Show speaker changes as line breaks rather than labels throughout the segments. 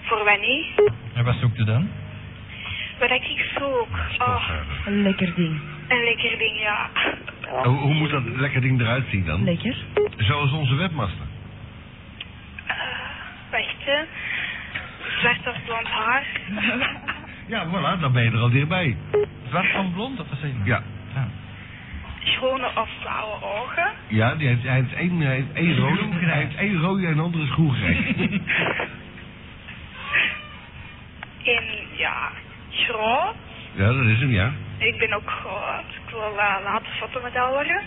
voor wanneer.
En wat zoekt u dan?
Wat ik zoek. Oh,
Spoorzuiver.
Een lekker ding.
een lekker ding, ja.
Hoe, Oh, hoe moet dat lekker ding eruit zien dan?
Lekker.
Zoals onze webmaster.
Eh, Wacht, hè. Zwart of blond haar.
Ja, voilà, dan ben je er al dichtbij.
Zwart van blond, of wat zeg je? nou?
Ja,
Ja.
Schone of blauwe ogen.
ja die heeft, hij heeft één, hij heeft één rode, hij heeft één rode en de andere is groen gekregen.
En ja, groot.
Ja, dat is hem, ja.
Ik ben ook groot. Ik wil eh, later fotomodel worden.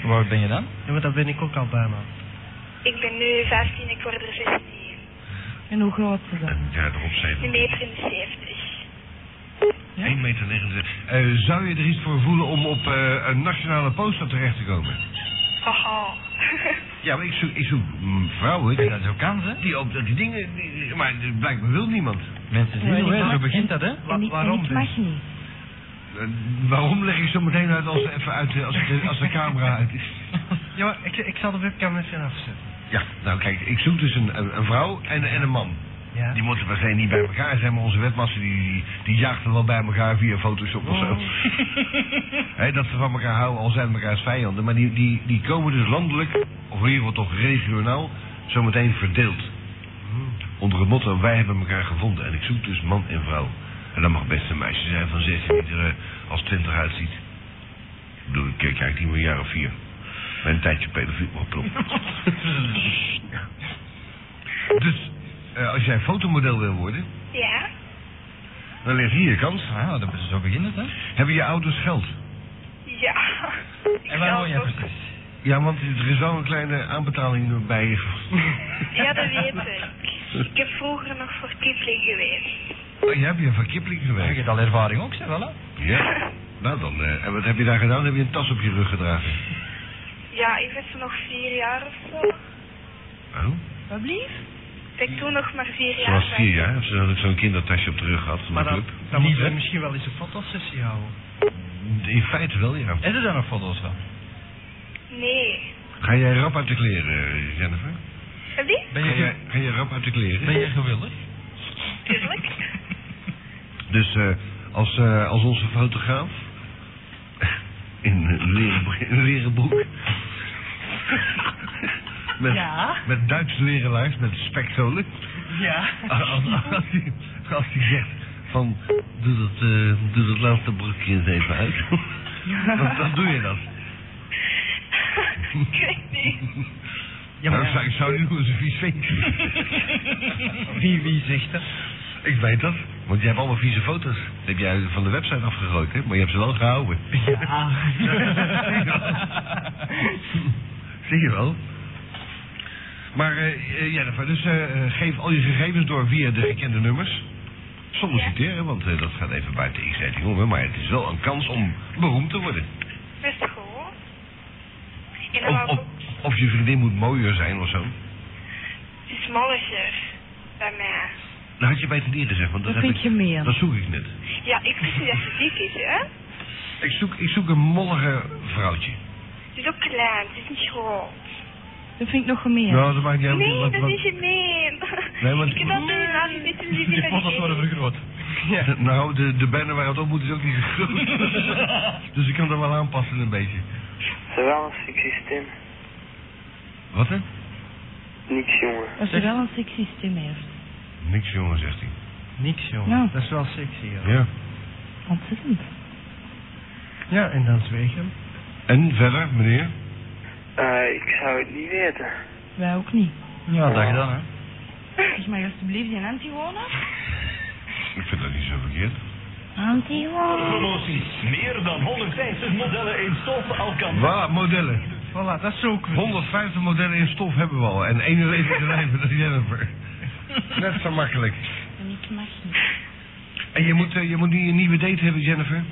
Waar ben je dan?
Ja, maar dat ben ik ook al bijna.
Ik ben nu 15, ik word er 16.
En hoe groot ze dan?
Ja, erop
Een
zijn.
meter in de 70.
1 meter 69. Eh, zou je er iets voor voelen om op eh, een nationale poster terecht te komen?
Haha.
Ja, maar ik zoek, ik zoek mm, vrouwen
En
die,
dat is ook kans, hè?
die op dat die dingen... die- maar eh, blijkbaar wil niemand.
Mensen zien
Nee,
hoe hè?
maar-
Zo begint dat, hè?
En ik, en
waarom
ik
dus?
mag niet.
Eh, waarom leg ik zo meteen uit als, even uit, eh, als, de, als de camera uit is?
Ja, maar ik, ik zal de webcam even afzetten.
Ja, nou kijk, ik zoek dus een, een, een vrouw en, en een man.
Ja.
Die moeten per se niet bij elkaar zijn, maar onze webmaster die, die, die jaagt er wel bij elkaar via Photoshop of zo.
Mm.
Hè, dat ze van elkaar houden, al zijn elkaars vijanden. Maar die, die, die komen dus landelijk, of in ieder geval toch regionaal, zometeen verdeeld.
Mm.
Onder het motto, wij hebben elkaar gevonden. En ik zoek dus man en vrouw. En dat mag best een meisje zijn van 16 die er eh, als 20 uitziet. Ik bedoel, ik kijk, kijk niet meer een jaar of vier. Met een tijdje pedofiel opgelopen. Dus eh, als jij fotomodel wil worden,
Ja?
dan ligt hier je kans.
Nou, dat is zo begint het, hè?
Hebben je ouders geld?
Ja. Ik
En waar
zou
woon jij
ook-
precies?
Ja, want er is wel een kleine aanbetaling bij.
Ja, dat weet ik. Ik heb vroeger nog voor Kipling geweest.
Oh, je hebt je van Kipling
Heb je
gewerkt.
hebt al ervaring ook, zeg wel, hè?
Ja. Nou dan, eh, en wat heb je daar gedaan? Heb je een tas op je rug gedragen?
Ja, ik was toen nog vier jaar of zo.
Oh,
Wat blieft?
Dat ik toen nog maar vier
ze
jaar
was vier jaar. Ze had ook zo'n kindertasje op de rug gehad van de
Maar dan,
club.
dan
Niet,
moeten we
hè?
misschien wel eens een fotosessie houden.
In feite wel, ja.
Is er daar nog foto's van?
Nee.
Ga jij rap uit de kleren, eh, Jennifer?
Heb je?
Ben
Ga jij,
je,
ga jij rap uit de kleren?
ben je gewillig?
Tuurlijk.
Dus eh, als, eh, als onze fotograaf in een leren, bro- in een leren broek. Met,
Ja.
met Duits leren lijst, met spekzolen.
Ja.
Als, als, hij, als hij zegt van doe dat, eh, doe dat laatste broekje eens even uit. Dan, dan doe je dat.
ik weet niet.
Ja, maar Nou, zou, ik zou nu eens een vies feestje doen.
Wie, wie zegt dat?
Ik weet dat. Want jij hebt allemaal vieze foto's. Die heb jij van de website afgerooid, hè? Maar je hebt ze wel gehouden. Zie je wel. Maar eh, eh, Jennifer, dus eh, eh, geef al je gegevens door via de gekende nummers. Zonder
Ja.
citeren, want eh, dat gaat even buiten de inschrijving om. hè, Maar het is wel een kans om beroemd te worden.
Best goed. En dan
Of,
wou ik
of,
ook
of je vriendin moet mooier zijn of zo.
iets molliger bij mij.
Dat had je beter niet gezegd, want dat,
Dat
heb
vind ik gemeen.
dat zoek ik net.
Ja, ik wist niet dat ze dik is, hè.
Ik zoek, ik zoek een mollige vrouwtje.
Ze is ook klein, ze is niet groot.
Dat vind ik nog gemeen.
Nou, dat maakt niet uit.
Nee,
want-
dat
want-
is gemeen.
Nee, want-
Ik heb dat nu laten zitten, dus ik
Die
weet dat
foto's
niet.
worden vergroot.
Ja, Nou, de, de banner waar het op moet is ook niet zo groot. dus ik kan dat wel aanpassen een beetje.
Het is wel een sexy stem.
Wat hè?
Niks jongen.
Als je wel een sexy stem heeft.
Niks jongen, zegt hij.
Niks, jongen.
Ja.
Dat is wel sexy, ja.
Ja.
Ontzettend.
Ja, en dan zweeg hem.
En verder, meneer?
Eh, ik zou het niet weten.
Wij ook niet.
Ja, dat gedaan, hè?
Zeg maar alsjeblieft die Antigone.
Ik vind dat niet zo verkeerd.
Oh.
Antigone.
Promoties. Meer dan 150 modellen in stof Alcantara.
Voilà, modellen.
Voilà, dat is ook...
150 modellen in stof hebben we al. En één leven te lijven, dat is Jennifer. Net zo makkelijk.
En ik mag niet.
En je moet, eh, je moet nu een nieuwe date hebben, Jennifer.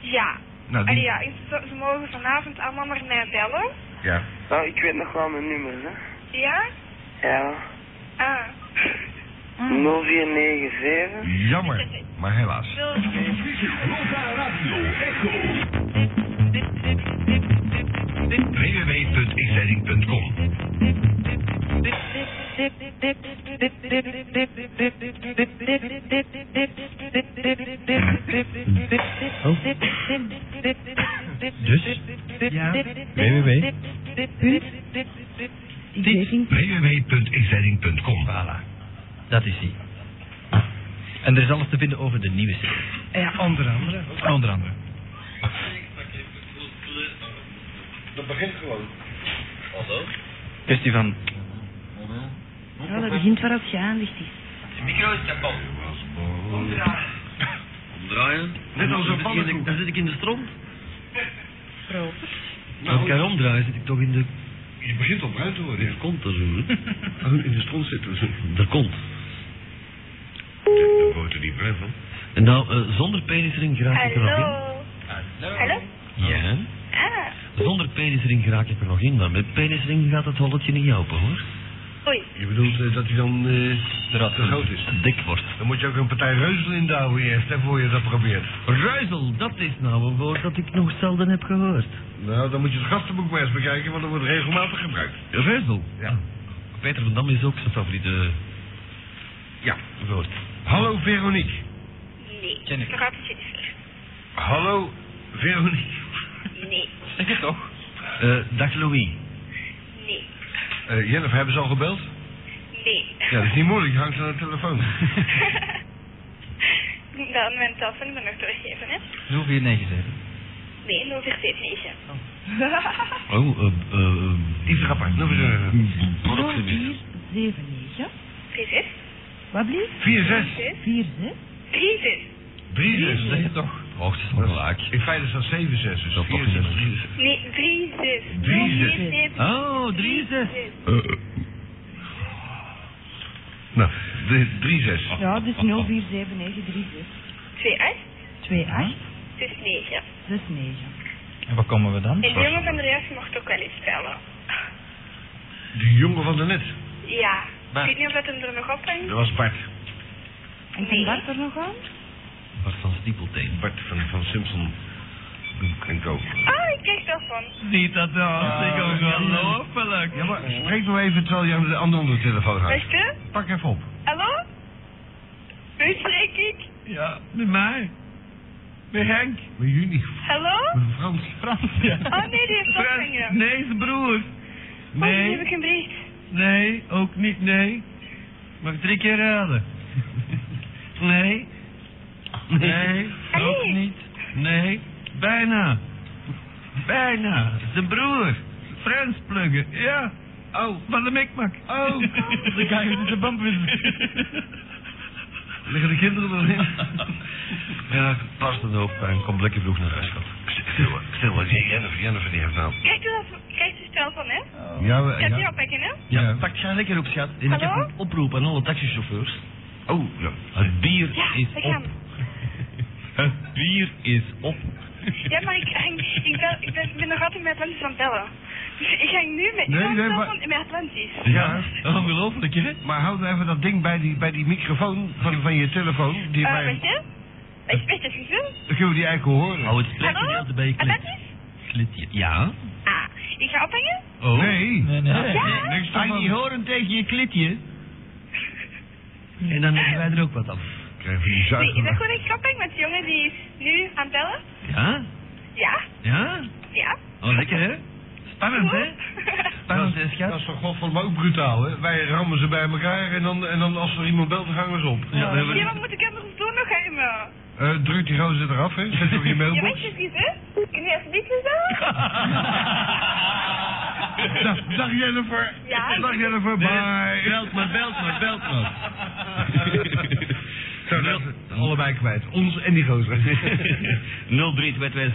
Ja.
Nou,
En
Ah,
die...
ja, ik- ze ze mogen vanavond allemaal maar mij bellen.
Ja.
Nou, ik weet nog wel mijn nummers, hè.
Ja?
Ja.
Ah.
0497.
Jammer, maar helaas.
Wil...
Dus?
www.inzending.com
Dus?
Ja.
www.
Dating.
www.xzetting.com.
Voilà. Dat is die. En er is alles te vinden over de nieuwe serie.
Ja, onder andere.
Onder andere.
Dat begint gewoon.
Kwestie van...
Ja, dat begint waar het geëindigd is.
Omdraaien?
Net als een pannenkoek.
Dan zit ik in de- Dan zit ik in de stroom.
Proper.
Als ik haar omdraai, zit ik toch in de...
Je begint al bruin te worden.
In
ja.
de kont, daar zo. hè? Ah, In de stroom zitten. zo. De kont.
Daar wordt er niet bruin van.
En nou, eh, zonder penisring raak ik er nog in.
Hallo. Hallo?
Ja.
Ah,
Zonder penisring raak ik er nog in, maar met penisring gaat het holletje niet open, hoor.
oei.
Je bedoelt eh, dat hij dan eh, te groot is.
Dik wordt.
Dan moet je ook een partij reuzel in de ouwe eerst, hè, voor je dat probeert.
Ruizel, dat is nou een woord dat ik nog zelden heb gehoord.
Nou, dan moet je het gastenboek maar eens bekijken, want dat wordt regelmatig gebruikt.
Ruizel?
Ja.
Ah. Peter van Dam is ook zijn favoriete eh,
Ja.
woord.
Hallo Veronique.
Nee.
Ken ik.
Praat het Jennifer.
Hallo Veronique.
Nee.
Zeg het toch?
Eh, dag Louis.
Nee.
Eh Jennifer, hebben ze al gebeld?
Nee.
Ja, dat is niet moeilijk, hangt aan de telefoon.
0 Dan mijn telefoonnummer nog doorgeven, hè?
0497.
Nee, 0479.
Oh, eh, eh...
Iets grappig. Noem eens,
0479.
36?
Wat
4-6.
blieft? 4, 6.
36?
3-6.
Zeg het toch?
Och, Oh, het is nog laag.
In feite is dat 7-6, dus
Dat
4-6,
klopt niet
3-6.
meer.
Nee, 36.
Drie zes.
Oh, drie, zes. Eh,
Nou, de- 3-6.
Ja, dus 047936.
28?
28.
Dus 9.
69.
En waar komen we dan?
Hm.
En de jongen van de reactie mocht ook wel eens spellen.
De jongen van de net.
Ja.
Maar-
Ik weet niet of dat hem er nog op hangt.
Dat was Bart.
En kan Bart er nog aan?
Bart van Stiepelteen.
Bart van, van Simpson en Co.
Ah, ik krijg dat van.
Niet dat dan. Zeg ook ongelooflijk.
Ja, maar spreek nou even terwijl je aan de andere onder de telefoon gaat.
Weet je?
Pak even op.
Hallo? Wie spreek ik?
Ja, met mij. Met Henk.
Met juni.
Hallo?
Met Frans. Frans, ja.
Oh nee, die heeft
Fred.
opgehangen.
Nee, zijn broer.
Oh, die heb
Nee,
ik een bericht.
nee, ook niet nee. Mag ik drie keer raden? Nee. Nee, ook
Hey.
niet. Nee, bijna. Bijna. Zijn broer. Frans pluggen, ja. Oh, van de mikmak. Oh, dan ga je de band
Liggen de kinderen erin?
Ja, pas dan op en kom lekker vroeg naar huis, schat.
Stil, stil. Jennifer, Jennifer die heeft nou...
Kijk er wel- kijk er stel van, hè?
Ja, we-
Ik ga die
ja.
oppakken, hè?
Ja,
Ja.
pak jij lekker op, schat. En ik heb
Hallo?
een oproep aan alle taxichauffeurs.
Oh, ja.
Het bier
Ja,
is
we
op.
gaan.
Het bier is op.
Ja, maar ik, hang, ik, bel, ik ben, ben nog altijd met Atlantis aan het bellen. Dus ik ga nu met
Nee,
ik hang
nee,
wel
maar-
van- met Atlantis.
Ja.
Ongelooflijk, hè?
Maar houd nou even dat ding bij die, bij die microfoon van, van je telefoon. Die
Eh, weet
wij,
je? Weet je, weet je, weet je?
dan kunnen we die eigenlijk horen.
Hou het spreekgedeelte
Hallo?
bij je klit.
Atlantis?
Klitje. Ja?
Ah, ik ga ophangen.
Oh.
Nee.
Nee, nee.
Ja?
Niks
Kan je
ervan.
niet horen tegen je klitje? En dan hebben wij er ook wat af.
Krijg je die
Nee, is dat
zuigen.
goed dat ik ophang met de jongen die is nu aan het bellen?
Ja?
Ja,
Ja?
ja.
Oh, lekker, hè? Spannend, hè? Spannend, hè,
Dat
schat?
is toch godverdomme maar ook brutaal, hè? Wij rammen ze bij elkaar en dan, en dan als er iemand belt, dan hangen ze op.
Ja, we
Ja, wat
hebben...
moet ik anders doen nog eenmaal?
Eh, druk die gozer eraf, hè? Zet hem op je
Ja, weet
mailbox.
je niet, hè? Kun je alsjeblieft eens bellen?
Nou, Dag, dag Jennifer.
Ja.
Dag Jennifer, bye.
Belt maar, belt maar, belt maar.
Zo, dat is allebei kwijt. Ons en die gozer.
032271212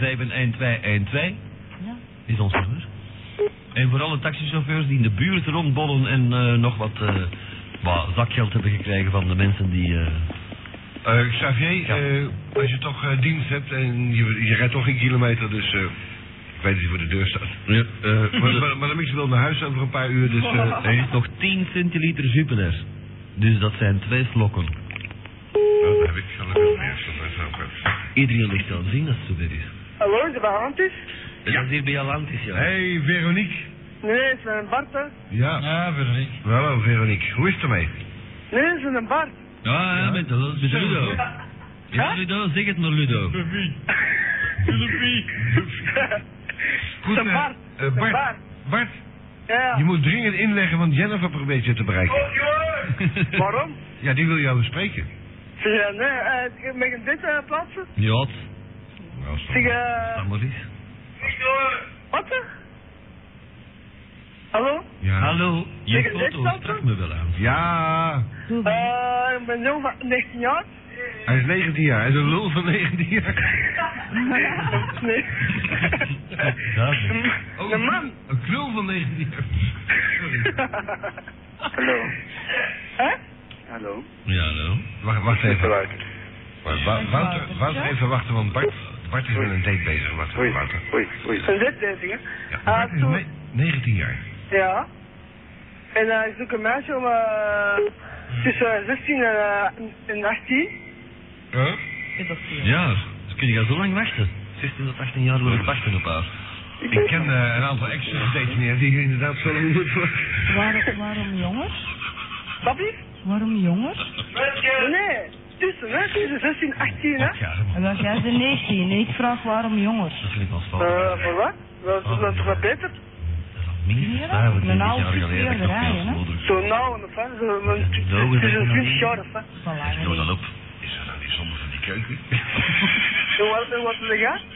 Ja.
is ons nummer. En voor alle taxichauffeurs die in de buurt rondbollen en eh, nog wat, eh, wat zakgeld hebben gekregen van de mensen die... eh,
Eh, Xavier, eh, als je toch eh, dienst hebt en je, je rijdt toch geen kilometer, dus eh, ik weet dat hij voor de deur staat.
Ja, eh,
Maar, maar, maar dan mix wel naar huis over een paar uur, dus... eh,
er is nog 10 centiliter Jupiter. Dus dat zijn twee slokken.
Oh, dat heb ik gelukkig meer. Dat is ook goed.
Iedereen ligt aan zien als het zover is.
Hallo, de behandeld is?
En Dat is hier bij Atlantis, ja.
Hey Veronique.
Nee, is een Bart, hè?
Ja.
Ja, Veronique.
Hallo Veronique, hoe is het ermee?
Nee, is een Bart.
Ja, ja, met, met Ludo. Ja, Ludo, zeg het maar, Ludo.
Goed,
Een
eh,
Bart.
eh,
Een
Bart.
Bart.
Bart,
Ja. Oh.
je moet dringend inleggen, want Jennifer probeert je te bereiken.
Waarom?
Ja, die wil jou bespreken.
Zeg, ja, nee, eh, mag ik dit eh, plaatsen?
Ja, het-
Nou, is toch-
Zeg, eh,
dat maar eens.
wat? hè? Hallo?
Ja.
Hallo, je
Zeg, dit
foto
dat
sprak
dan?
me wel aan.
ja,
Eh, ik ben jong van 19 jaar.
hij is 19 jaar, hij is een lul van 19 jaar.
Nee.
Oh,
Een man.
Een knul van 19 jaar.
Hallo.
Hè?
Hallo.
Ja, nou. hallo.
Wacht, wacht
Met
even.
Wouter.
Wa- wa- Wouter, Wouter, even wachten, want Bart, Bart is met een date bezig. Wacht
Oei,
even, Wouter.
oei, oei.
Een wetdeving, hè?
Ah,
Ah,
Ja, Bart is
toen-
ne- 19 jaar.
Ja. En eh, ik zoek een meisje om eh, tussen 16 en, eh, en 18.
Huh?
Ja, dus kun je al zo lang wachten. 16 tot 18 jaar wil ik wachten op haar.
Ik ken eh, een aantal extra dates meer die je inderdaad zo lang moet wachten.
Waarom, waarom jonger?
Papi?
Waarom jonger?
Nee, tussen, hè? Tussen 16 en 18, hè?
Ja, man.
Wel, jij bent 19 en ik vraag waarom jonger.
Dat vind ik wel spannend.
Eh, voor wat? Dat is dat is toch wat beter?
Dat is al minstens
Ja,
25
mijn oude
jaar geleden dat ik nog
rijden,
geen
hè?
moeder
Zo nauw, of hè? Zo,
Dat is
tussen
nauw, hè?
20 jaar, of hè?
Van langer.
Doe dan op.
Is dat nou die zonde van die keuken?
En wat, en wat wil jij?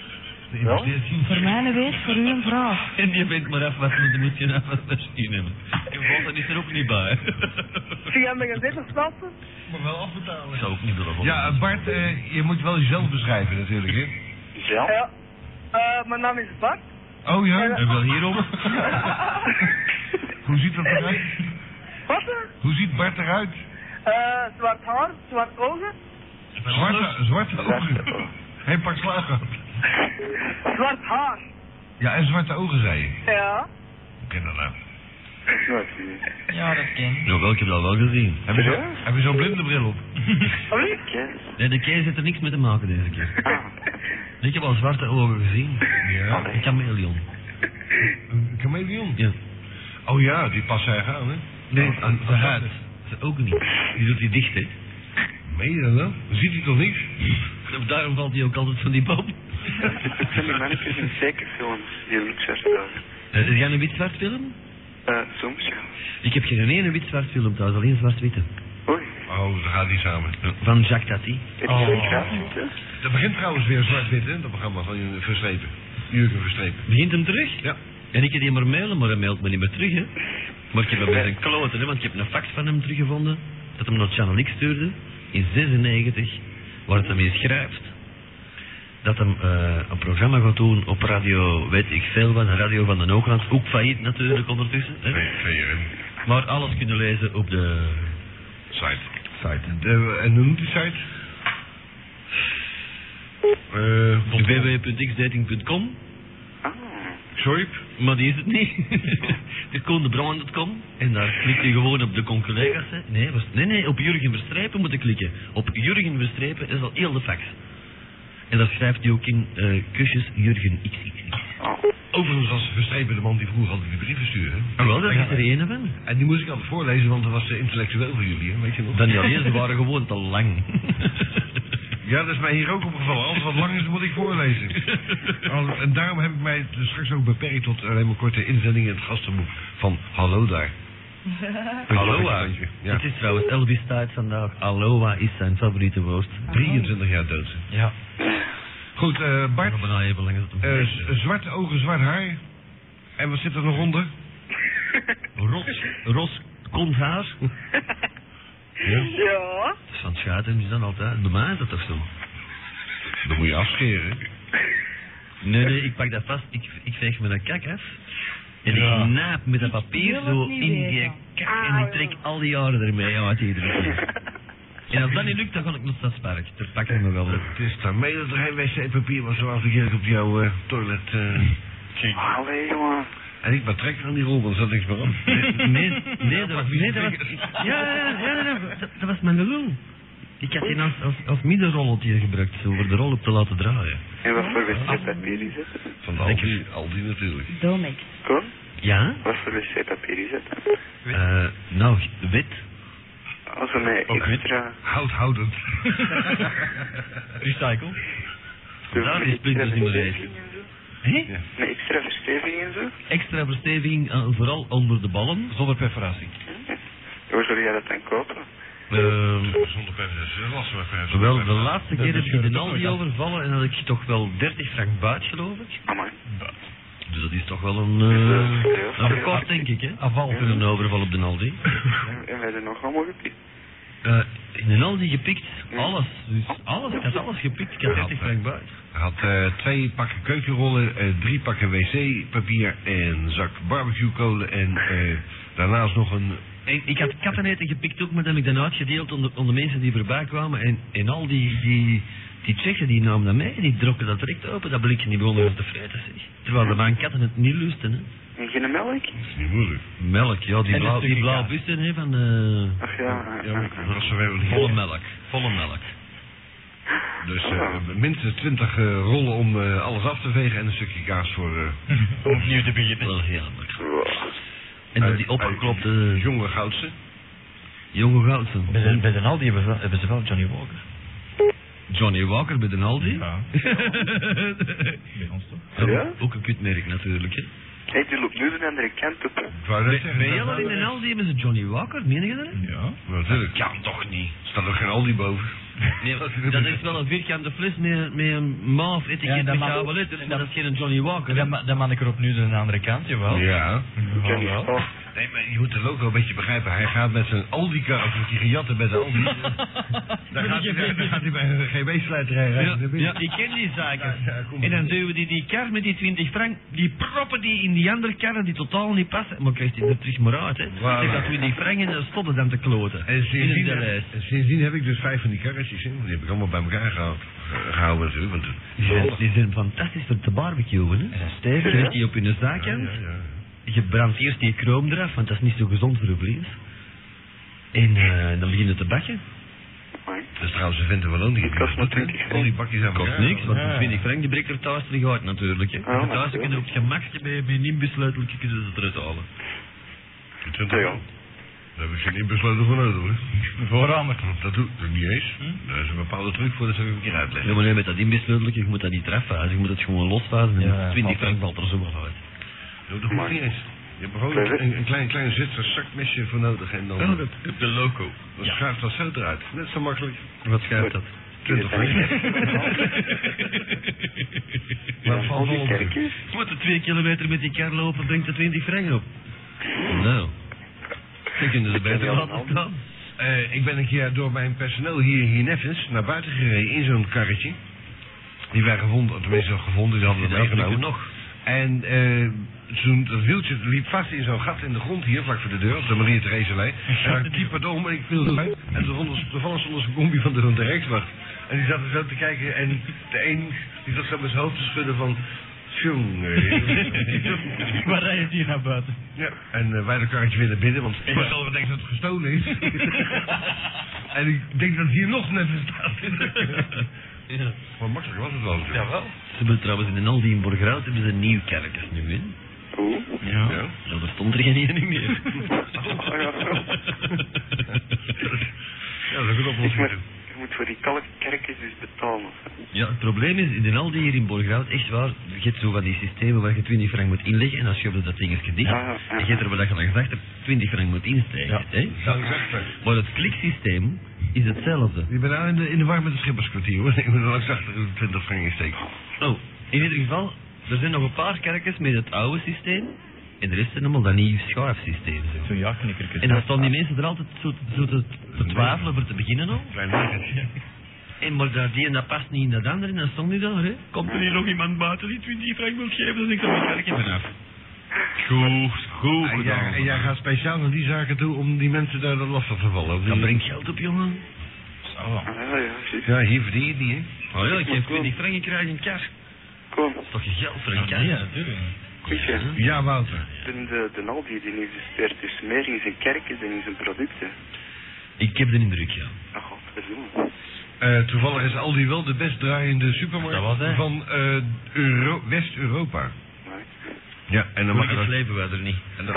Investeert hij?
Voor mij een weet, voor u een vraag.
En je weet maar af wat moet moet je af wat machine hebben. Je volgende is er ook niet bij.
Zie jij met een dit nog plaatsen?
Ik zou ook niet willen volgen.
Ja, eh, Bart, eh, je moet wel jezelf beschrijven natuurlijk, hè?
Ja?
Ja. Eh, mijn naam is Bart.
Oh ja?
En wel hierom.
Hoe ziet dat eruit?
Wat? hè?
Hoe ziet Bart eruit?
Eh, zwart haar, zwart ogen,
Zwarte, zwarte ogen. Hij pak slaag gehad.
zwart haar.
Ja, en zwarte ogen, zei je.
Ja.
Ik ken dat nou.
Nooit gezien.
Ja, dat ken ik.
Nou, welke heb je dat wel gezien?
Heb je zo- heb je zo'n blinde bril op?
Sorry?
Yes.
Nee, de keer zit er niks mee te maken deze keer.
Ah,
Ik heb al zwarte ogen gezien.
Ja.
Een chameleon.
Een chameleon?
Ja.
Oh ja, die past hij aan, hè?
Nee,
Oh,
aan
oh,
de
dat
huid.
is-
Ze ook niet. Die doet hij dicht, hè.
Meen je dat wel? Ziet hij toch niks?
Daarom valt hij ook altijd van die boom.
dat zijn die mannetjes in zeker films die Luc herstellen.
Eh, Is jij een wit-zwart film?
Eh, soms ja.
Ik heb geen ene wit-zwart film thuis, alleen zwart-witte.
Oei,
Oh, daar gaat die samen.
Van Jacques Tati.
heb je zoiets raar, hè?
Dat begint trouwens weer zwart-wit, hè? Dat programma van Verstrepen. Jurgen Verstrepen.
Begint hem terug?
Ja.
En ik heb die maar mailen, maar hij mailt me niet meer terug, hè. Maar ik heb hem
Eh.
met een klote, hè, want ik heb een fax van hem teruggevonden. Dat hem naar Channel X stuurde, in 96, waar het hem in schrijft. Dat hem eh, een programma gaat doen op radio, weet ik veel wat, een radio van de Hoogland. Ook failliet natuurlijk ondertussen. Hè. Maar alles kunnen lezen op de
Site. Site. De, en hoe noemt die site? Eh,
www.xdating.com.
sorry.
Maar die is het niet. Het is gewoon de Brand.com en daar klik je gewoon op de concollega's. hè. Nee, was, nee, nee, op Jurgen Verstrepen moet ik klikken. Op Jurgen Verstrepen is al heel de fax. En daar schrijft hij ook in eh, kusjes Jurgen XXX.
Overigens was Verstrepen de man die vroeger altijd die brieven stuurde.
En Ah, wel, daar is er één van.
En die moest ik altijd voorlezen, want dat was eh, intellectueel voor jullie, hè? weet je wel.
Dan niet alleen, ze waren gewoon te lang.
Ja, dat is mij hier ook opgevallen. Alles wat lang is, moet ik voorlezen. Al- En daarom heb ik mij dus straks ook beperkt tot alleen maar korte inzendingen in het gastenboek van Hallo daar.
Aloha.
Ja.
Het is trouwens Elvis tijd vandaag. Aloha is zijn favoriete woord.
23 jaar dood.
Ja.
Goed, eh, Bart,
Ik ben al even lang dat het hem-
eh, z- zwarte ogen, zwart haar. En wat zit er nog onder?
eh, Ros, Ros komt haar.
Ja.
Dat is van het schuiten is dan altijd. Bij mij is dat toch zo?
Dan moet je afscheren.
Nee, nee, ik pak dat vast. Ik, ik veeg me dat kak af. En
Ja.
ik naap met dat papier
wil
zo
het niet
in die
weten. Ah,
kak. En ik trek al die jaren ermee uit iedere keer. En als dat niet lukt, dan ga ik naar het stadspark. Daar pak ik me wel op.
Het is daarmee dat er geen wc-papier was zoals ik hier op jouw eh, toilet. eh.
Allee, jongen.
En ik maar trek aan die rol, want er zat niks meer aan.
Nee, nee, dat was... Nee, dat was ja, ja, ja, ja, dat- dat, dat was mijn lul. Ik had die als, als, als middenrolletje gebruikt, zo, voor de rol op te laten draaien.
En wat voor wc-papier is het?
Van de Aldi, Aldi natuurlijk.
Domek.
Kom?
Ja?
Wat voor wc-papier is dat dan?
Eh, nou, wit.
Als we mij
Ook wit.
extra...
Houthoudend.
Recycle.
Nou, die splinter is niet meer wijs. Hé?
Met extra versteviging en zo?
Extra versteviging, eh, vooral onder de ballen.
Zonder perforatie.
Hoe zou jij dat dan kopen?
Ehm,
Zonder pers, dat was wel pers.
wel, de laatste keer
is
heb ik de
gebeurd,
Aldi
ja.
overvallen en had ik toch wel 30 frank buit, geloof ik.
Amai.
Dus dat is toch wel een, eh, een record, denk ik, hè? Afval. Een overval op de Aldi.
En- En wij zijn nog allemaal gepikt.
Eh, in de Aldi gepikt, alles. Dus alles, ik had alles gepikt. Ik had
Ja,
30 frank buit.
Hij had eh, twee pakken keukenrollen, eh, drie pakken wc-papier en zak barbecuekolen en eh, daarnaast nog een...
Ik, ik had katteneten gepikt ook, maar dat heb ik dan uitgedeeld onder, onder mensen die voorbij kwamen. En, en al die, die, die Tsjechen die namen dat mee, die drokken dat direct open. Dat blikje die begonnen wel te vreten, zeg. Terwijl de mijn katten het niet lusten, hè.
En geen melk?
Dat is niet moeilijk.
Melk, ja, die,
een
blauw, die
stukje
blauwe
kaas.
bussen, hè, van... eh,
Ach ja. eh, eh,
Dat was er wel niet.
volle melk, volle melk.
Dus eh, minstens twintig rollen om eh, alles af te vegen en een stukje kaas voor... eh,
Om opnieuw te beginnen.
Wel heerlijk.
wow.
En dan
uit-
die opgeklopte
uit- Jonge goudse.
jonge goudsen.
Bij de, bij de Aldi hebben ze, wel- hebben ze wel Johnny Walker.
Johnny Walker bij de Aldi.
Bij ons toch?
Ja?
Ook een kutmerk natuurlijk, hè.
Hé, die loopt nu de andere kant op. hè.
Ik wou net zeggen,
Bij
dat-
jullie in de Aldi hebben ze Johnny Walker, meen je dat?
Ja.
Natuurlijk. Ja, toch niet. Staat er geen Aldi boven.
Nee, dat is wel een vierkante fles met, met een mauve etiket
Ja, dat
met
mag-
gouden letters, maar
dat-
dat is geen Johnny Walker. hè?
Dan, ma- dan man ik er opnieuw aan de andere kant, jawel.
Ja.
Jawel,
Johnny
wel.
Spock.
Nee, maar je moet de logo een beetje begrijpen. Hij gaat met zijn Aldi-kaart, met die gejatten bij de Aldi. Daar gaat, hij, daar gaat hij bij een GB-slijterij
Ja,
rijden. naar binnen.
ja, ik ken die zaken.
Ja, ja, kom maar.
en dan duwen die die kar met die 20 frank, die proppen die in die andere karren die totaal niet passen. Maar krijgt hij er terug maar uit, hè.
Voilà.
Zeg dat we die frank en dan stoppen dan te kloten.
En
in
sindsdien,
de
heb,
lijst.
en sindsdien heb ik dus vijf van die karretjes in. Die heb ik allemaal bij elkaar gehaald, gehouden natuurlijk. Want
Die zijn, die zijn fantastisch voor te barbecuen, hè.
zijn stevig,
Je legt die op je zaak
ja,
aan,
ja, ja.
je brandt eerst die kroom eraf, want dat is niet zo gezond voor je vlees. En eh, dan begin je te bakken.
Amai.
Dat is trouwens een vent in Wallonië.
Die kost maar 20 cent.
Al die bakjes aan
Kost
elkaar.
niks, want
ja, ja.
die 20 frank die breekt er thuis terug uit natuurlijk. Hè.
Ja,
thuis
natuurlijk.
kunnen er op het gemakje bij, bij een inbesluiteltje kunnen ze het eruit halen.
Die 20 euro. Daar heb ik geen inbesloten voor nodig hoor.
Voorramer.
Dat doe ik niet eens. Dat is een bepaalde truc voor, dat zal ik een keer uitleggen.
Ja, maar Hm? nee, met dat inbesluiteltje, je moet dat niet treffazen, je moet het gewoon losfazen.
Ja,
En
ja,
20
valt
frank valt er zo wel uit.
Dat doe ik niet eens. Je hebt gewoon
Clever.
een, een klein, klein Zwitser zakmesje voor nodig en dan...
Oh, dat- de loco.
Dan schuift dat zo eruit. Net zo makkelijk.
Wat schuift dat?
20
Ja, dat
frank. Maar het valt wel
Die
op.
kerkjes?
Je moet er twee kilometer met die kar lopen, brengt er 20 frank op. Nou, dan kunnen ze beter laten staan.
Eh, ik ben een keer door mijn personeel hier, hier neffens naar buiten gereden in zo'n karretje. Die wij gevonden, tenminste gevonden, die hadden we
Die hadden we
meegenomen.
nog.
En eh, toen, dat wieltje liep vast in zo'n gat in de grond hier, vlak voor de deur, op de Maria Thereselij. En ik liep het om en ik viel eruit. En toen vond ons- toevallig stond ons een combi van de, van de Rijkswacht. En die zat er zo te kijken en de een die zat zo met zijn hoofd te schudden van... Tjonge,
Waar rijdt hier naar buiten?
ja, en eh, wij de karretje weer naar binnen, want ik was al denkt dat het gestolen is. en ik denk dat het hier nog net staat.
Ja.
Maar makkelijk was het wel natuurlijk.
Jawel.
Ze hebben trouwens in de Aldi in Borgerhout hebben ze nieuw kerkers nu, hè.
Oeh.
Ja.
Ja.
Ja, er stond er geen ene meer.
Ja, dat is een
Ik moet,
oplossing.
je moet voor die kalkkerkjes dus betalen.
Ja, het probleem is, in de Aldi hier in Borgerhout, echt waar, je hebt zo van die systemen waar je 20 frank moet inleggen en dan schub je dat dingetje dicht.
Ja, ja.
En je hebt er wel dat je dan gezegd hebt, 20 frank moet insteken.
Ja.
Hè?
Zou ik zeggen.
Maar het kliksysteem is hetzelfde.
Je bent nou in de, in de war met het schipperskwartier hoor. Ik moet er langs achter de 20 frank insteken.
Oh, in ieder geval, er zijn nog een paar kerkers met het oude systeem en de rest zijn allemaal dat nieuw schuifsysteem. zo.
Zo'n ja-knikkertje.
En dan staan die mensen er altijd zo, zo te, te twijfelen voor te beginnen al.
Klein wagentje.
En maar dat die en dat past niet in dat andere en dan stond die daar, hè. Komt er hier nog iemand buiten die 20 frank wil geven, dan denk ik dat mijn kerkje vanaf. Goed, goed
En jij, en jij gaat speciaal naar die zaken toe om die mensen daar dan lastig te vallen. of
Dan
niet? Oh.
breng geld op, jongen.
Ah, ja, ja, zie.
Ja, hier verdien je het niet hè.
Oh ja, ik geef 20 frank en krijg een kar.
Kom,
Dat is toch je geld voor een
Ja,
kar?
ja, natuurlijk.
Michel.
Ja, Wouter.
De, de, de Aldi die investeert dus meer in zijn kerkjes dan in zijn producten.
Ik heb de indruk, ja.
Oh, godverdomme.
Eh, toevallig is Aldi wel de best draaiende supermarkt
Dat was hij.
van eh, Euro- West-Europa.
Maar-
Ja, en dan mag
Gelukkig
dat...
leven wij er niet.
En dat,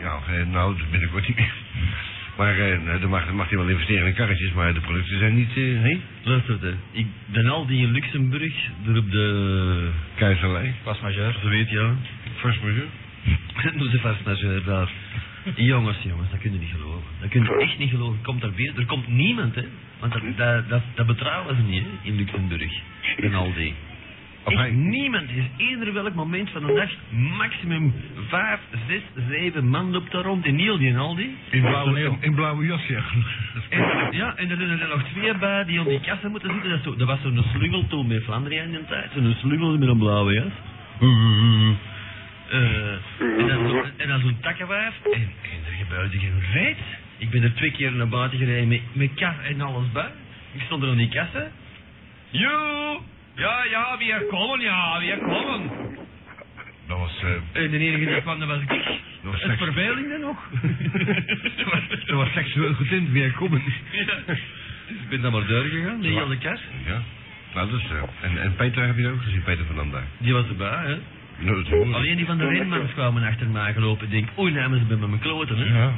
ja, eh, nou, dat binnenkort niet meer. Maar eh, nou, dan, mag, dan mag hij wel investeren in karretjes, maar de producten zijn niet... eh nee?
Luister, hè. ik ben al die in Luxemburg, daar op de...
Keizerlei.
Pas majeur.
Ze weet, ja.
First majeur.
Doe ze vast naar daar. Jongens, jongens, dat kun je niet geloven. Dat kun je echt niet geloven. Komt daar binnen, er komt niemand, hè. Want dat, dat, dat, dat betrouwen ze niet, hè, in Luxemburg. In Aldi.
Of
Echt
hij-
niemand is ieder welk moment van de dag maximum vijf, zes, zeven man loopt daar rond in heel die Aldi.
In blauwe, in blauwe jas, ja. Dat is
En, ja, en er zijn er nog twee bij die op die kassen moeten zitten. Dat, is zo, dat was zo'n slungel toen met Vlaanderen in de tijd. Zo'n slungel met een blauwe jas. Eh, en dan zo- en dan zo'n takkenwijf. En, en er gebeurde geen reet. Ik ben er twee keer naar buiten gereden met, met kaf en alles bij. Ik stond er aan die kassen.
Jo! Ja, ja, weer komen, ja, weer komen.
Dat was... eh
En de enige die kwam, dat was ik.
Dat was
Het
seks-
verveling dan nog.
dat was- dat was seksueel getint, weer komen.
Ik ben dan maar doorgegaan, die hele kast.
Ja. Nou, dat is... eh, en, en Peter heb je ook gezien, Peter van Anda.
Die was erbij, hè.
Nou, dat is mooi.
Alleen die van de Rijnmans kwamen achter mij gelopen. Ik denk, oei, nou hebben ze bij me mijn kloten, hè.
Ja.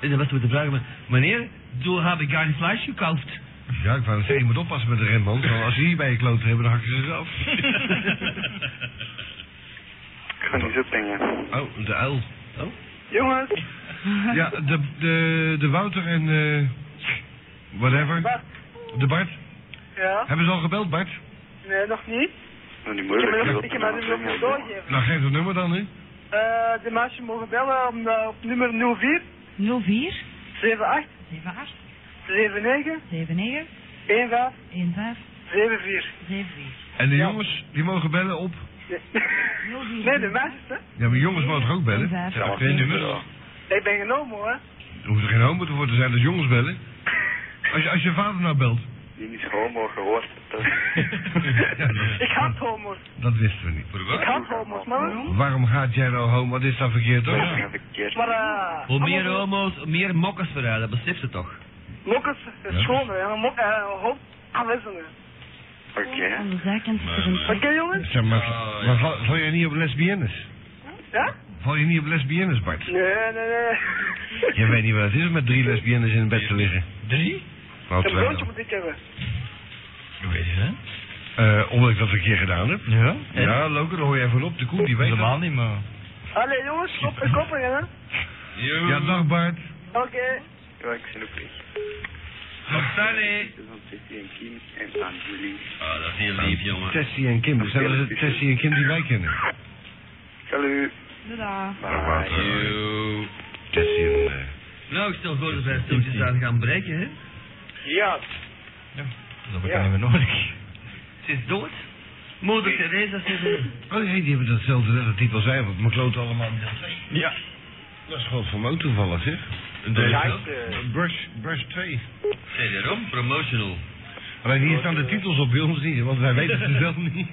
En dan was er de vraag, maar, meneer, toen heb ik een fles gekauft.
Ja, ik wou zeggen, je moet oppassen met de Rembrandt. Want als ze hier bij je kloten hebben, dan hakken ze ze af.
Ik ga niet opbrengen.
Oh, de uil. Oh?
Jongens,
Ja, de, de, de Wouter en eh whatever.
Bart.
De Bart.
Ja?
Hebben ze al gebeld, Bart?
Nee, nog niet.
Nou, niet
Ik heb mijn
moeilijk. je
nummer-
wilt
ik heb mijn
me
nummer
opbrengen.
moeten doorgeven.
Nou, geef het nummer dan, hè.
Eh, de meisjes mogen bellen om, eh, op nummer 04
04
78
78
79
79
15
15
74.
74.
En de jongens, die mogen bellen op...
Nee. Nee, de meisjes, hè?
Ja, maar jongens mogen toch ook bellen?
Ja,
Ja, twee nummers.
Ik ben genomen, hoor.
Er hoeft er geen homo voor te zijn dat jongens bellen. Als je, als je vader nou belt.
Die is homo gehoord. Dat
Ja, dat,
Ik haat homo's.
dat wisten we niet.
Ik haat homo's, man.
Waarom gaat jij nou homo? Dit is dan verkeerd, hoor.
dat is verkeerd.
eh, Maar, eh...
Hoe meer
allemaal-
homo's, hoe meer mokkers vooruit, dat beseft ze toch.
Mokkers is schoner, hè. Mok- eh, hoop aanwezig.
Oké.
Aan de zijkant zit er
Oké,
een
jongens?
Zeg maar,
Oh,
maar val, val je niet op lesbiennes?
Ja?
Val je niet op lesbiennes, Bart?
Nee, nee, nee.
Je weet niet wat het is om met drie lesbiennes in bed te liggen.
Drie?
Nou,
Een
twee
broodje
dan.
moet ik hebben.
Ik weet het, hè?
Eh, omdat ik dat een keer gedaan heb.
Ja?
Ja, Loke, daar hoor je even op. De koe, die weet dat.
Helemaal niet, maar...
Allee, jongens, op de koppen, hè.
Ja, dag Bart.
Oké.
Ja, ik ben ook weg.
Roxanne.
Dus dan zit hij in Kim en aan jullie.
Ah, dat is heel lief, jongen.
Tessie en Kim. Dat zijn wel de Tessie en Kim die wij kennen.
Hallo.
Doei.
Bye. Tessie en... eh,
Nou, ik stel voor dat wij stoeltjes aan gaan breken, hè.
Ja.
Dat heb ik niet meer nodig.
Ze is dood. Moeder Teresa ze is dood.
Oh nee, die hebben datzelfde net, dat type als wij, want mijn kloten allemaal in deel 2.
Ja.
Dat is gewoon voor me ook toevallig, zeg.
Ja,
eh,
Brush, brush 2.
Zeg daarom, promotional.
Alleen hier staan de titels op bij ons niet, want wij weten ze zelf niet.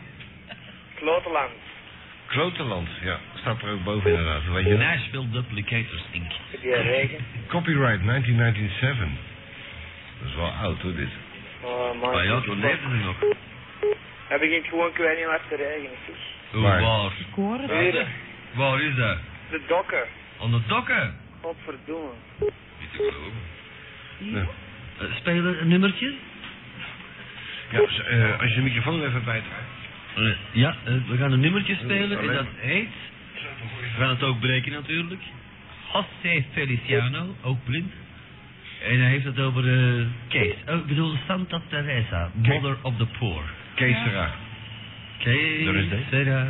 Klotenland.
Klotenland, ja. Staat er ook boven inderdaad, weet je. wel.
Nashville Duplicators, Inc.
Die regen.
Copyright 1997. Dat is wel oud hoor, dit.
Oh,
Maar Ah ja, toen leefden ze nog.
Heb ik het gewoon kwijt niet waar te regen.
Hoe
Waar?
waar?
koren.
Weer,
Waar is dat?
de dokken.
Aan de dokken?
Godverdomme.
Niet te geloven.
Ja.
Eh, Spelen een nummertje?
Ja, dus, eh, als je de microfoon even bijdraait.
Eh, Ja, eh, we gaan een nummertje spelen en dat heet... We gaan het ook breken natuurlijk. José Feliciano, ook blind. En hij heeft het over eh, Kees. Oh, ik bedoel Santa Teresa, Mother of the Poor.
Kees Sera.
Kees,
Daar is hij.
Sarah.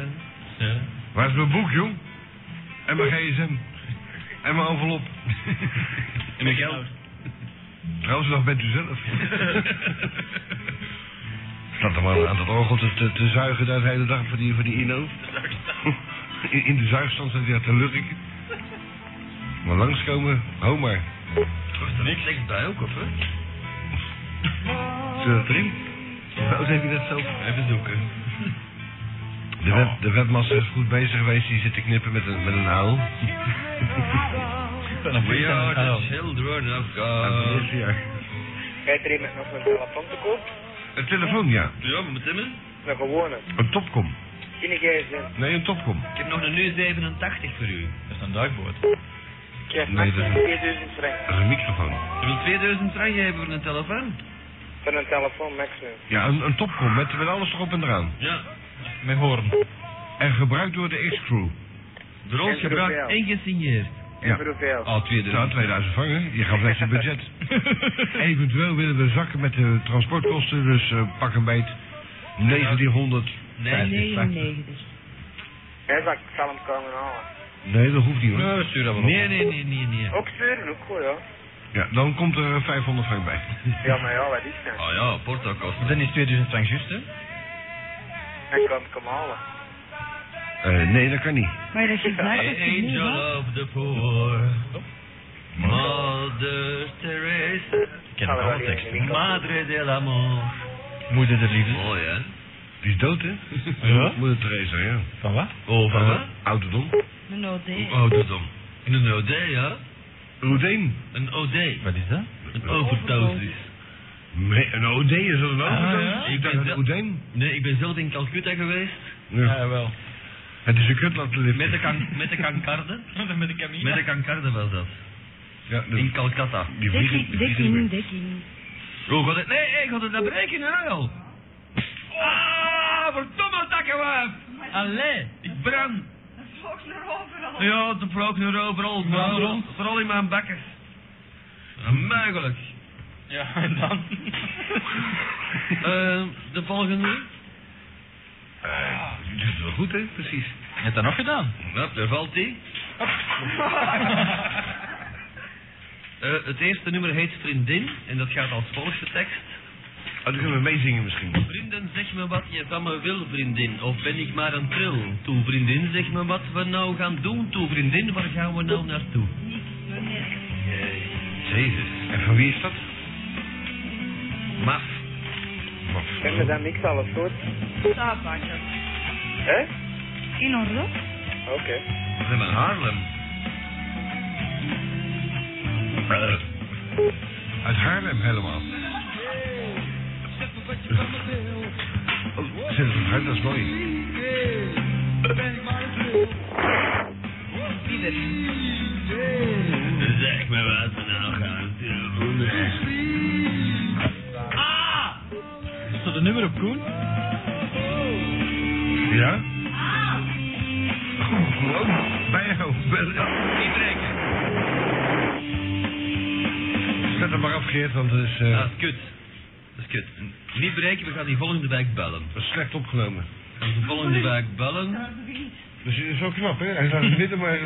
Ja.
Waar is mijn boek, jong? En mijn gsm. En mijn envelop.
En mijn geld.
Trouwens, nog Nou, bent u zelf. Staat er maar aan dat orgel te, te, te zuigen daar de hele dag voor die, voor die Ino. In, in de zuigstand staat hij daar te lurken. Maar langskomen, Homer.
Kost er niks slechts bij ook, of hè?
Zullen we dat erin? Hoe Nou, heb je dat zelf?
Even zoeken.
De, web, de webmaster is goed bezig geweest, die zit te knippen met een, met een uil.
We are the children of
Uit het
God.
eerste jaar.
Kijk er iemand nog een telefoon te koop?
Een telefoon, ja.
Ja, we moeten hem.
Een gewone.
Een topcom.
In de gsm.
Nee, een topcom.
Ik heb nog een U87 voor u.
Dat is een duikboot.
Ik krijg
Nee, dat is niet.
4000 frank
Dat is een microfoon.
Je wil 2000 frank hebben voor een telefoon?
van een telefoon maximum.
Ja, een, een topcom met, met alles erop en eraan.
Ja.
Met hoorn.
En gebruikt door de X-Crew.
De rood
En
gebruikt
hoeveel?
en gesigneerd.
En
Ja.
voor hoeveel?
Ah,
Nou,
2000.
2000 vangen. Je gaat net je budget. Eventueel willen we zakken met de transportkosten, dus eh, pak een beet. 1900.
Nee, nee.
99.
Hij zegt, ik zal hem komen halen.
Nee, dat hoeft niet hoor.
Nou,
Nee, stuur dat maar op.
Nee, nee, nee, nee, nee.
Ook sturen, ook goed, ja.
Ja, dan komt er eh, 500 frank bij.
Ja, maar ja, wat is dat?
Ah ja, porto kost.
Dan is 2000 frank juist, hè?
Dan kan ik hem halen.
Eh, nee, dat kan niet.
Maar dat je blij dat je nu
Angel
was.
of the poor. Mother Teresa.
Ik ken alle teksten.
Madre del amor.
Moeder de liefde.
Mooi, hè?
Die is dood, hè?
Ja?
Moeder Teresa, ja.
Van wat?
Oh, van wat?
Eh, Ouderdom.
Een OD.
Hoe oud is dat? In een OD, ja?
Oudeen.
Een OD.
Wat is dat?
Een overdosis.
Nee, een OD is dat een overdosis?
ja?
Ik dacht een Oudeen.
Nee, ik ben zelf in Calcutta geweest.
Ja.
wel.
Het is een kutlatlift.
Met de, kan met de kankarde.
Met de camille.
Met de kankarde was dat.
Ja, de-
In Calcutta.
die Dus vliegen. die vliegen
Dekking,
weer.
dekking.
Oh, god, nee, ik had het dat berekenen, huil. Ah, verdomme takkenwijf. Allee, ik brand. Ja, de vloog nu overal. Vooral,
rond.
vooral in mijn bakkers. Onmogelijk.
Ja, en dan?
Eh, de volgende.
Eh, dit is wel goed, hè? Precies.
Heb je dat nog gedaan?
Ja, Nou, daar valt die. Eh, het eerste nummer heet Vriendin en dat gaat als volgt de tekst.
Oh, dan kunnen we meezingen misschien.
Vrienden, zeg me wat je van me wil, vriendin. Of ben ik maar een tril? Toe, vriendin, zeg me wat we nou gaan doen. Toe, vriendin, waar gaan we nou naartoe? Eh, Jezus.
En van wie is dat?
Maf.
En we zijn niks alles goed. Hè?
In orde?
Oké.
We zijn in Haarlem. Eh,
Eh, Uit Haarlem helemaal. Oh, zet het op hard, dat is mooi.
Zeg me wat we nou gaan doen. Ah!
Is dat een nummer op Koen?
Ja? Goed, gewoon. Bij jou. Wel, ja.
Niet breken.
Zet hem maar af, Geert, want het is eh,
Dat is kut. Dat is kut. Niet breken, we gaan die volgende wijk bellen.
dat is slecht opgenomen.
We gaan de volgende wijk bellen.
Dus het is wel knap, hè? Hij staat in het midden, maar...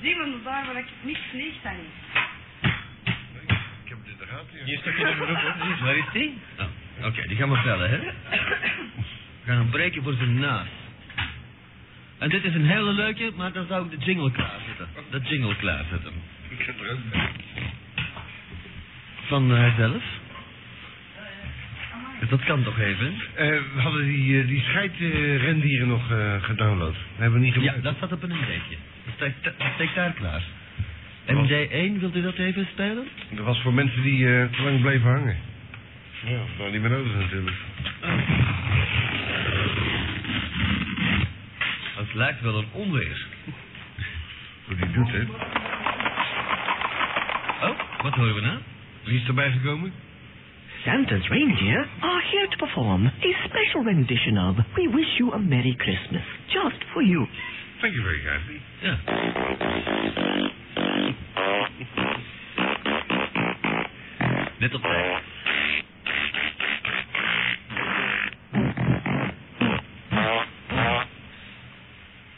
Die van daar waar ik niks niet aan
Ik heb dit in de gaten, ja.
Hier stukje nummer op, hoor. Waar is die? Ah, Oké, die gaan we bellen, hè. We gaan hem breken voor zijn naam. En dit is een hele leuke, maar dan zou ik de jingle klaarzetten. De jingle klaarzetten.
Ik zit er ook bij.
Van hijzelf. Dus dat kan toch even?
Eh, we hadden die, eh, die scheidrendieren nog eh, gedownload. Dat hebben we niet
Ja,
gebruikt.
dat staat op een MD'tje. Dat steekt- dat steekt daar klaar. MD1, wilt u dat even spelen?
Dat was voor mensen die eh, te lang bleven hangen. Ja, dat was niet meer nodig natuurlijk.
Het lijkt wel een onweer.
Hoe die doet, hè.
Oh, wat horen we nou?
Wie is erbij gekomen?
Santa's reindeer are here to perform a special rendition of We Wish You a Merry Christmas, just for you.
Thank you very kindly.
Ja. Net op tijd.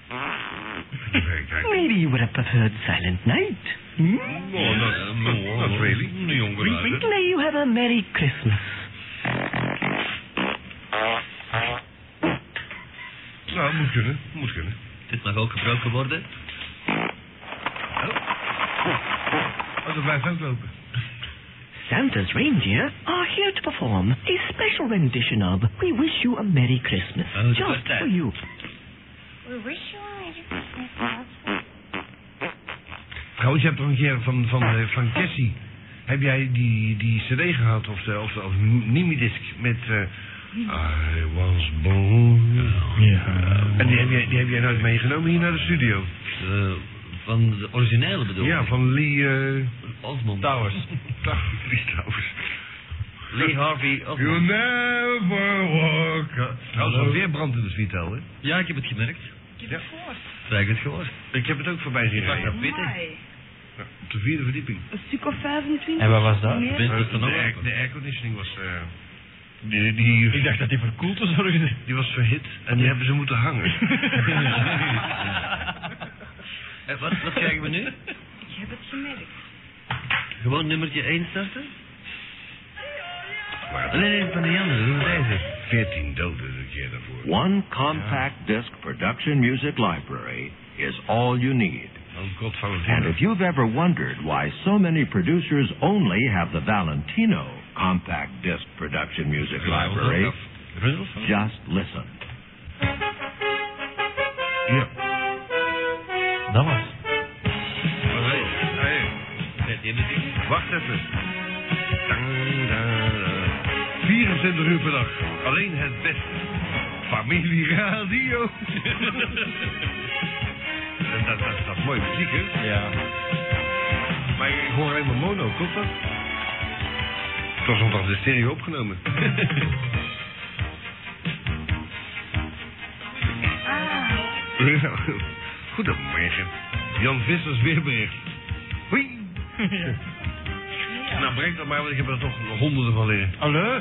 Thank you very kindly.
Maybe you would have preferred Silent Night. Hmm?
Oh, not, not, not really.
Nee,
We
jongen.
May you have a Merry Christmas.
Nou, moet kunnen. Moet kunnen.
Dit mag ook gebroken worden.
Oh, dat blijft ook lopen.
Santa's reindeer are here to perform a special rendition of We Wish You a Merry Christmas,
Oh, dat was
just
tijd.
for you.
Trouwens, je hebt toch een keer van, van eh, Frank Cassie. Heb jij die, die cd gehad of, de, of, de, of minidisc met eh, I was born. En die heb, jij, die heb jij nooit meegenomen hier naar de studio?
Eh, van de originele bedoel
Ja,
ik.
van Lee... eh,
Osmond.
Towers.
Lee Towers.
Lee Harvey Osmond.
You'll never walk... a- Trouwens, was weer brand in de Svitel, hè?
Ja, ik heb het gemerkt.
Ik heb het gehoord.
Zeg het gehoord.
Ik heb het ook voorbij zien
Ja,
rijden.
Peter.
Amai.
Op de vierde verdieping.
Een stuk of 25.
En wat was dat?
Meer?
Wist-
Eh,
wist er nog
de air-
wat?
De airconditioning was... eh, die, die,
Ik dacht dat die verkoeld was. origine-
die was verhit en die hebben ze moeten hangen.
Eh, wat, wat krijgen we nu?
Ik heb het gemerkt.
Gewoon nummertje 1 starten?
Maar
Nee, nee, van die andere. Doe het deze.
14 doden dat jij daarvoor.
One compact disc production music library is all you need.
Oh god,
And
Valentino.
if you've ever wondered why so many producers only have the Valentino compact disc production music library,
Rudolf?
just listen.
Ja.
Dat was.
Hey, hey,
Nee, die hebben die.
wacht even. Dang, da, da. 24 uur per dag. Alleen het beste. Familie Radio. dat, dat, dat, dat is mooie muziek, hè?
Ja.
Maar ik hoor alleen maar mono, klopt dat? Het was omdat de stereo opgenomen.
Ah.
Ja, Goedemorgen. Jan Vissers weerbericht. Hoi. Nou, breng dat maar, want ik heb er toch honderden van liggen.
Hallo?